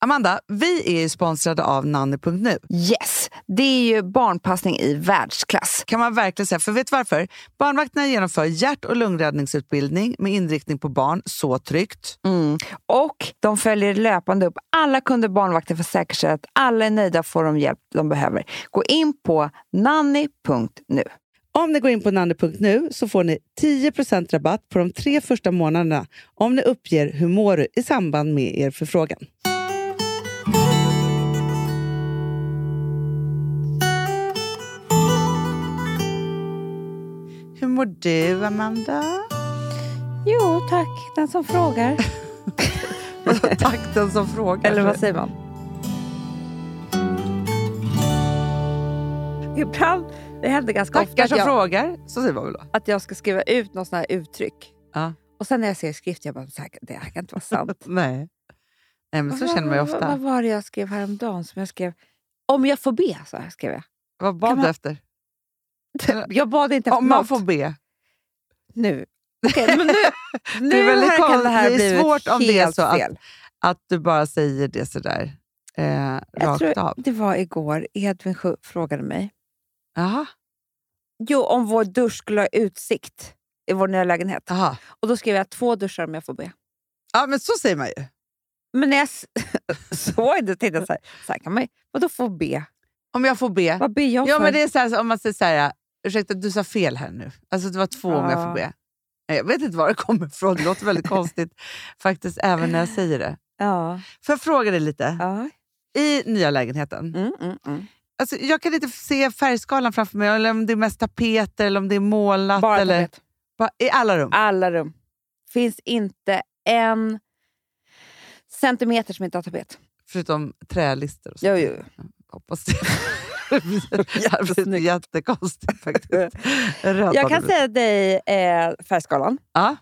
Amanda, vi är ju sponsrade av nanny.nu. Yes, det är ju barnpassning i världsklass. Kan man verkligen säga, för vet du varför? Barnvakterna genomför hjärt och lungräddningsutbildning med inriktning på barn, så tryggt. Mm. Och de följer löpande upp alla kunder barnvakten för att säkerställa att alla är nöjda och får de hjälp de behöver. Gå in på nanny.nu. Om ni går in på nanny.nu så får ni 10% rabatt på de tre första månaderna om ni uppger hur mår du i samband med er förfrågan. Hur mår du, Amanda? Jo tack, den som frågar. Tack den som frågar. Eller vad säger man? Ibland, det händer ganska ofta Tackar att som jag, frågar. Så säger man väl då? att jag ska skriva ut något sånt här uttryck. Ja. Och sen när jag ser skrift, jag bara, "Så här kan- det här kan inte vara sant. Nej. Nej, men så Alltså, Vad- känner man ju Vad, vad ofta. var det jag skrev häromdagen som jag skrev? Om jag får be, så här skrev jag. Vad kan bad man- du efter? Jag bad inte Om efter man något får be. nu. Okej, men nu, nu Det är väldigt här kan det här konstigt. Det är blivit svårt om det är helt så att- fel. Att du bara säger det sådär eh, Jag rakt tror av. det var igår, Edvin Sjö frågade mig. Jaha. Jo, om vår dusch skulle ha utsikt i vår nya lägenhet. Aha. Och då skrev jag två duschar om jag får be. Ja, men så säger man ju. Men när jag s- såg det tänkte jag så här, så här kan man ju, vadå få be? Om jag får be. Vad ber jag Ja, för? men det är så här, om man säger så här, ursäkta du sa fel här nu. Alltså det var två om jag får Ja. be. Nej, Jag vet inte var det kommer ifrån, det låter väldigt konstigt faktiskt även när jag säger det. Ja, Får jag fråga dig lite? ja. I nya lägenheten, Mm, mm, mm. alltså, jag kan inte se färgskalan framför mig, eller om det är mest tapeter eller om det är målat. Bara eller, tapet. Ba- I alla rum? Alla rum. Finns inte en centimeter som inte har tapet. Förutom trälister och sånt. Jo, jo. Hoppas det. det blir Jättesnyggt. jättekonstigt faktiskt. Röd Jag kan hade säga dig eh, färgskalan. du. Ja.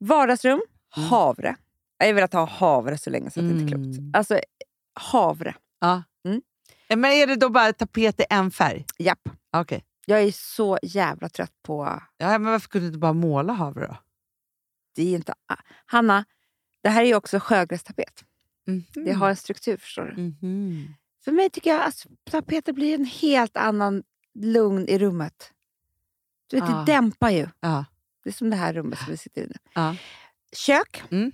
Vardagsrum, Mm. havre. Jag har velat ha havre så länge så att det inte är Mm. klokt. Alltså, havre. Eh, Men är det då bara tapet i en färg? Japp. Ah, Okej. Jag är så jävla trött på... Ja, men varför kunde du inte bara måla havre då? Det är inte... ah, Hanna, det här är ju också Sjögrästapet. Mm. Det har en struktur, förstår du. Mhm. För mig tycker jag att tapeter blir en helt annan lugn i rummet. Du vet, Ah. Det dämpar ju. Ja. Det är som det här rummet som vi sitter i nu. Ja. Kök. Mm.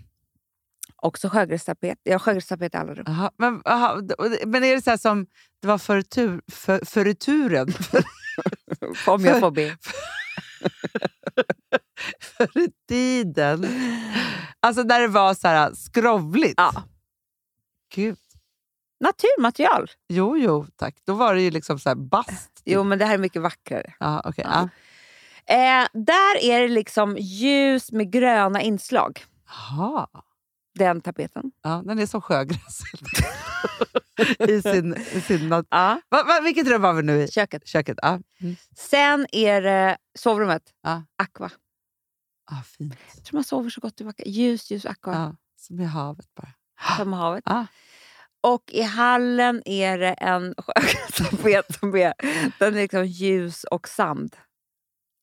Också sjögrästapet. Jag har sjögrästapet i alla rum. Aha, men, aha, d- och det- men är det så här som det var förr i tur, för, förr i turen? Om jag får be. förr i tiden? Alltså när det var så här skrovligt? Ja. Gud. Naturmaterial. Jo, jo, tack. Då var det ju liksom så här bast. Jo, men det här är mycket vackrare. Ja, okej. Ah. Ja. Eh, där är det liksom ljus med gröna inslag. Jaha. Den tapeten. Ja, den är som sjögräs. I sin, i sin nat- Ja. va, va, vilket rum var vi nu i? Köket. Köket? Ja, mm. Sen är det sovrummet. Ja. Aqua. ah, fint. Jag tror man sover så gott i vackra. Ljus, ljus, aqua. Ja, som i havet bara. Som havet. Ja. Och i hallen är det en sjögrästapet som är, den är liksom ljus och sand.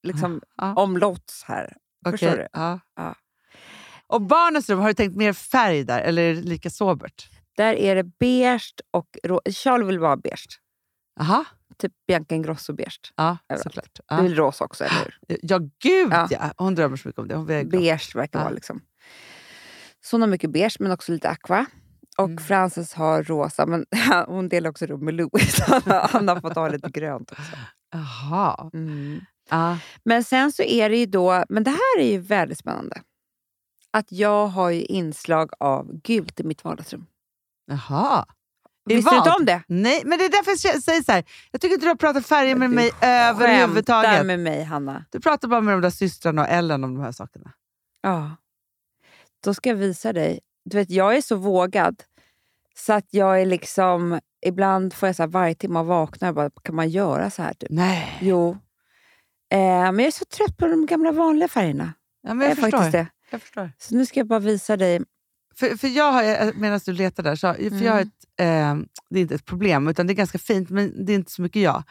Liksom Ja. omlotts här. Förstår Okej, du? Ja. Ja. Och barnens rum, har du tänkt mer färg där eller är det lika sobert? Där är det beige och... Rå... Charlie vill vara beige. Jaha, Typ Bianca Ingrosso beige. ja, Överallt. såklart. Du Ja. vill rosa också, eller hur? ja, gud ja. Ja. Hon drömmer så mycket om det. Ah. Hon vill ha- Beige verkar Ja. vara liksom... Så hon har mycket beige, men också lite aqua. Och Mm. Frances har rosa, men hon delar också rum med Louis. Han har, han har fått ha lite grönt också. Jaha. Mm. Ja. Men sen så är det ju då... Men det här är ju väldigt spännande. Att jag har ju inslag av gult i mitt vardagsrum. Jaha. I Visste du vad? inte om det? Nej, men det är därför jag säger så här. Jag tycker inte du har pratat färger med Du mig överhuvudtaget. Skämtar med mig, Hanna. Du pratar bara med de där systrarna och Ellen om de här sakerna. Ja. Då ska jag visa dig. Du vet, jag är så vågad. Så att jag är liksom... Ibland får jag så här, varje timme man vaknar, bara, kan man göra så här? Typ? Nej. Jo. Eh, men jag är så trött på de gamla vanliga färgerna. Ja, men jag, är förstår. faktiskt det. jag förstår. Så nu ska jag bara visa dig. För, för jag har, medan du letar där, så, har- för jag har Mm. ett, eh, det är inte ett problem, utan det är ganska fint, men det är inte så mycket jag.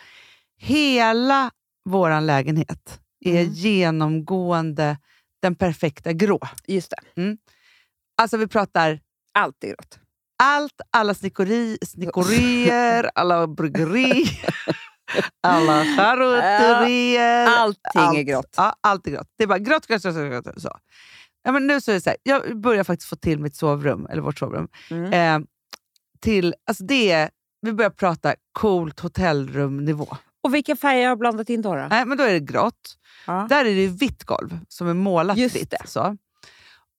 Hela vår lägenhet är Mm. genomgående den perfekta grå. Just det, Alltså vi pratar allt är grått. Allt, alla snickori, snickorier, alla bryggeri, alla charkuterier. Allting är grått. Ja, allt är grått. Det är bara grått, grått, grått. grått, grått så. Ja, men nu så är det så här, jag börjar faktiskt få till mitt sovrum, eller vårt sovrum. Mm. Eh, till, alltså det, är- vi börjar prata coolt hotellrumnivå. Och vilka färger har jag blandat in då? då? Nej, men då är det grått. Ja. Där är det ju vitt golv som är målat Just vitt. det. Så.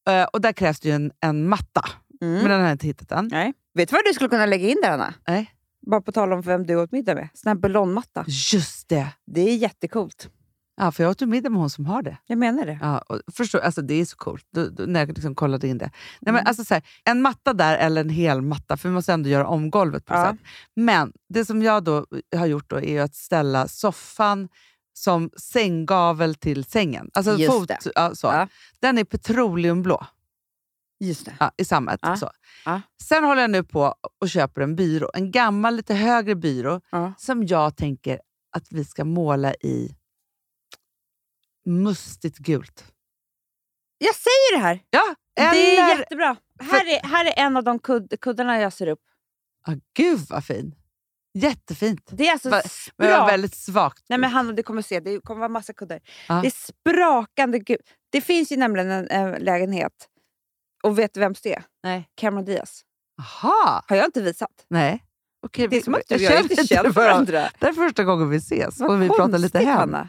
Eh, och där krävs det ju en, en matta, Mm. men den har jag inte hittat än. Nej. Vet du vad du skulle kunna lägga in där, Anna? Nej. Bara på tal om vem du åt middag med. Sån här ballongmatta. Just det! Det är jättecoolt. Ja, för jag åt ju middag med hon som har det. Jag menar det. Ja, och förstår, alltså det är så coolt, du, du, när jag liksom kollade in det. Nej, men Mm. alltså så här, en matta där eller en hel matta, för vi måste ändå göra om golvet på något Ja. sätt. Men det som jag då har gjort då är ju att ställa soffan som sänggavel till sängen. Alltså Just fot, det. ja, så. Ja. Den är petroleumblå Just det. ja, i sammet. Ja. Så. Ja. Sen håller jag nu på och köper en byrå, en gammal lite högre byrå Ja. som jag tänker att vi ska måla i mustigt gult. Jag säger det här! Det är Eller... jättebra. Här är, här är en av de kud, kuddarna jag ser upp. Ah, gud vad fin! Jättefint. Det är alltså Va- Men det var sprak... väldigt svagt. Nej men Hanna, du kommer se. Det kommer vara massa kuddar. Ja. Det är sprakande gud. Det finns ju nämligen en, en lägenhet. Och vet du vems det är? Nej. Cameron Diaz. Aha. Har jag inte visat? Nej. Okej, Det är vi- som att du jag och jag inte känner varandra. varandra. Det är första gången vi ses och vi pratar konstigt, lite hem. Hanna.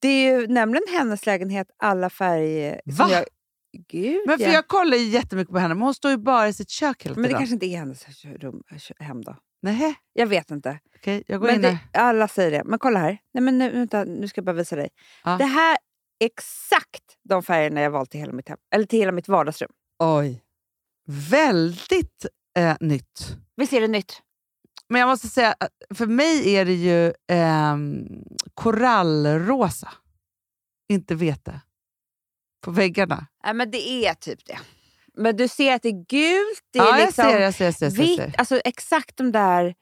Det är ju nämligen hennes lägenhet, alla färger. som Va? Jag... Gud, Men för ja. jag kollar ju jättemycket på henne, men hon står ju bara i sitt kök hela men det tiden. kanske inte är hennes rum, hem då. Nej, Jag vet inte. okej, jag går Men in det, här. alla säger det. Men kolla här. Nej, men nu, vänta, nu ska jag bara visa dig. Ja. Det här är exakt de färgerna jag valt till hela mitt, hem, eller till hela mitt vardagsrum. Oj. Väldigt eh, nytt. Visst är det nytt? Men jag måste säga, att för mig är det ju ehm, korallrosa. Inte vete. På väggarna. Nej, men det är typ det. Men du ser att det är gult, det är ja, liksom jag ser, jag ser, jag ser. Jag ser, jag ser. vitt. Alltså exakt de där...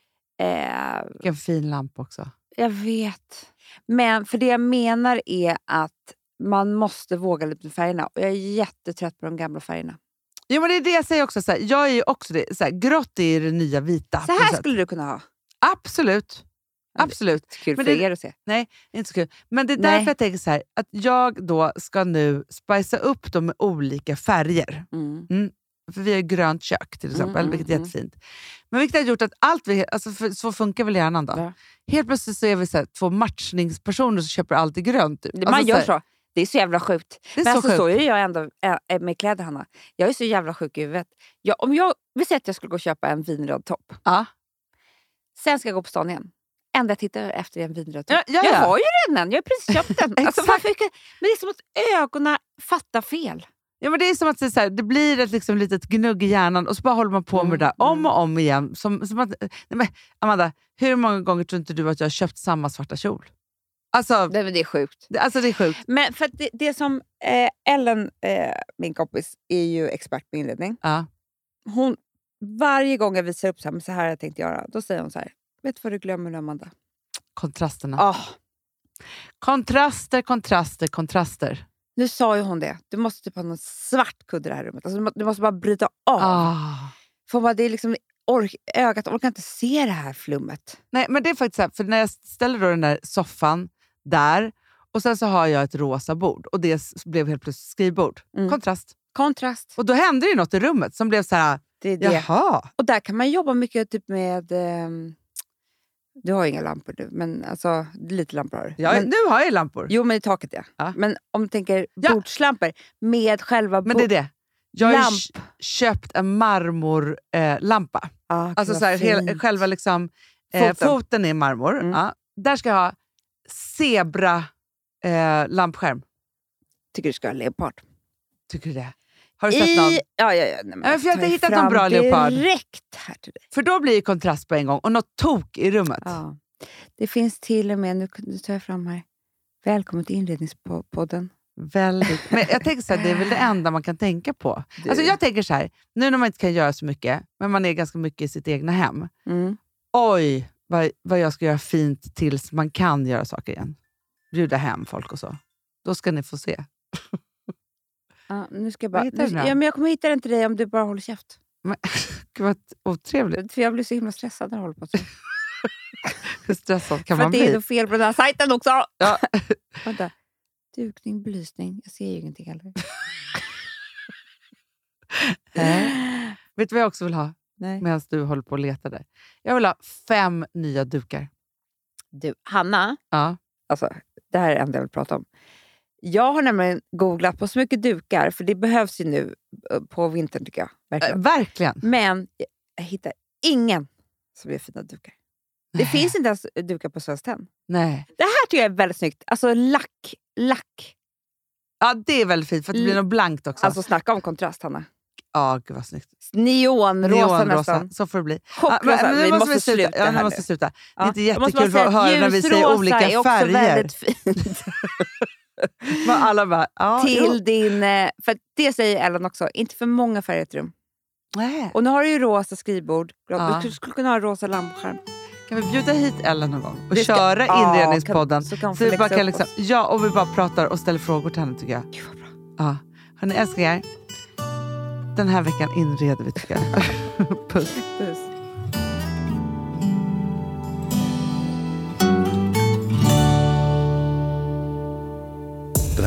Eh, Vilken fin lampa också. Jag vet. Men för det jag menar är att man måste våga lite med färgerna. Och jag är jättetrött på de gamla färgerna. Jo, men det är det jag säger också. Så här, jag är ju också det. Så här, grått är det nya vita. Så på något här sätt. skulle du kunna ha. Absolut. Ja, Absolut. Kul Men för det- er att se. Inte så kul. Men det är Nej. därför jag tänker så här, att jag då ska nu spicea upp dem med olika färger. Mm. För vi har ju grönt kök till Mm, exempel, mm, vilket är mm. jättefint. Men vilket har gjort att allt vi... Alltså för, så funkar väl hjärnan då? Ja. Helt plötsligt så är vi så här, två matchningspersoner som köper allt i grönt. Typ. Man Alltså gör här, så. Det är så jävla sjukt. Det är Men så alltså, sjukt. så är jag ändå äh, med kläder, Hanna. Jag är så jävla sjuk i huvudet. Jag, om jag, vi säger att jag skulle gå och köpa en vinröd topp. Ja. Sen ska jag gå på stan igen. Enda jag tittar efter är en vinröd topp. Ja, ja, Jag ja. har ju redan en. Jag har precis köpt den. alltså, Exakt. varför, men det är som att ögonen fattar fel. Ja, men det är som att det, är så här, det blir ett liksom, litet gnugg i hjärnan och så bara håller man på med det där Mm, om och om igen. Som, som att, nej, men, Amanda, hur många gånger tror inte du att jag har köpt samma svarta kjol? Alltså, Nej, men det är sjukt. det, alltså det är sjukt. Men för att det, det som eh, Ellen, eh, min kompis, är ju expert på inredning. Ja. Hon, varje gång jag visar upp så här, men så här har jag tänkt göra, då säger hon så här. Vet du vad du glömmer nu, Amanda? Kontrasterna. Ah, Kontraster, kontraster, kontraster. nu sa ju hon det. Du måste typ ha någon svart kudde i det här rummet. Alltså, du, må, du måste bara bryta av. Ah. För hon bara, det är liksom, ork, ögat orkar inte se det här flummet. Nej, men det är faktiskt så här, för när jag ställer då den där soffan där och sen så har jag ett rosa bord och det s- blev helt plötsligt skrivbord. Mm. Kontrast. Kontrast. Och då hände det ju något i rummet som blev så här, Det är det. jaha. Och där kan man jobba mycket typ med... ehm, du har ju inga lampor nu, men alltså lite lampor har du. Ja, Men- nu har jag ju lampor. Jo, men i taket ja. Ja. Men om du tänker Ja. bordslampor med själva Men det är bord- det. Jag har ju Lamp. kö- köpt en marmorlampa. Eh, lampa. Ah, gud, alltså vad så här, hel, fint. själva liksom, eh, Foten. foten. är marmor. Mm. Ja. Där ska jag ha zebra eh, lampskärm. Tycker du ska ha leopard. Tycker du det? Har du sett någon? Ja, ja, ja. Nej, men men för jag har tar inte ju hittat någon fram bra leopard. direkt här till dig. För då blir det kontrast på en gång och något tok i rummet. Ja. Det finns till och med, nu, nu tar jag fram här. Välkommen till inredningspodden. Väldigt. Men jag tänker så här, det är väl det enda man kan tänka på. Du. Alltså jag tänker så här, nu när man inte kan göra så mycket, men man är ganska mycket i sitt egna hem. Mm. Oj, vad, vad jag ska göra fint tills man kan göra saker igen. Bjuda hem folk och så. Då ska ni få se. Ja, nu ska jag Vad bara... hittar Nu, du den? ja, men jag kommer hitta den till dig om du bara håller käft. Men, gud vad otrevligt. För jag blir så himla stressad när jag håller på så. Hur stressad kan För man att det är bli? något fel på den här sajten också! Ja. Vänta. Dukning, belysning. Jag ser ju ingenting heller. Vet du vad jag också vill ha Nej. medan du håller på och letar där? Jag vill ha fem nya dukar. Du, Hanna. Ja. Alltså, det här är det enda jag vill prata om. Jag har nämligen googlat på så mycket dukar, för det behövs ju nu eh, på vintern tycker jag. Äh, Verkligen. verkligen. Men jag- jag hittar ingen som gör fina dukar. Det finns inte ens dukar på Svenskt Tenn. Nej. Det här tycker jag är väldigt snyggt. Alltså lack, lack. Ja, det är väldigt fint för att det blir något blankt också. Alltså snacka om kontrast, Hanna. ja, gud vad snyggt. Neonrosa, nästan. Neonrosa. Så får det bli. Ja, men, Ah, Chockrosa. men nu vi måste, måste vi sluta. sluta ja, nu här måste vi nu. sluta. Det Ja. är inte Jag måste bara jättekul att säga höra när vi säger ljusrosa olika är också färger. väldigt fint. Men alla bara, ja, till Jo. din... eh, För att det säger Ellen också, inte för många färger i ett rum. Nej. Och nu har du ju rosa skrivbord. Ja. Du skulle kunna ha rosa lampskärm. Kan vi bjuda hit Ellen någon gång och Det ska- köra Ja, inredningspodden? kan- så kan hon Så få vi bara läxa kan upp liksom, oss. ja, och vi bara pratar och ställer frågor till henne tycker jag. Gud, vad bra. Ja. Hörni älsklingar, den här veckan inreder vi tycker jag. Puss. Puss. Den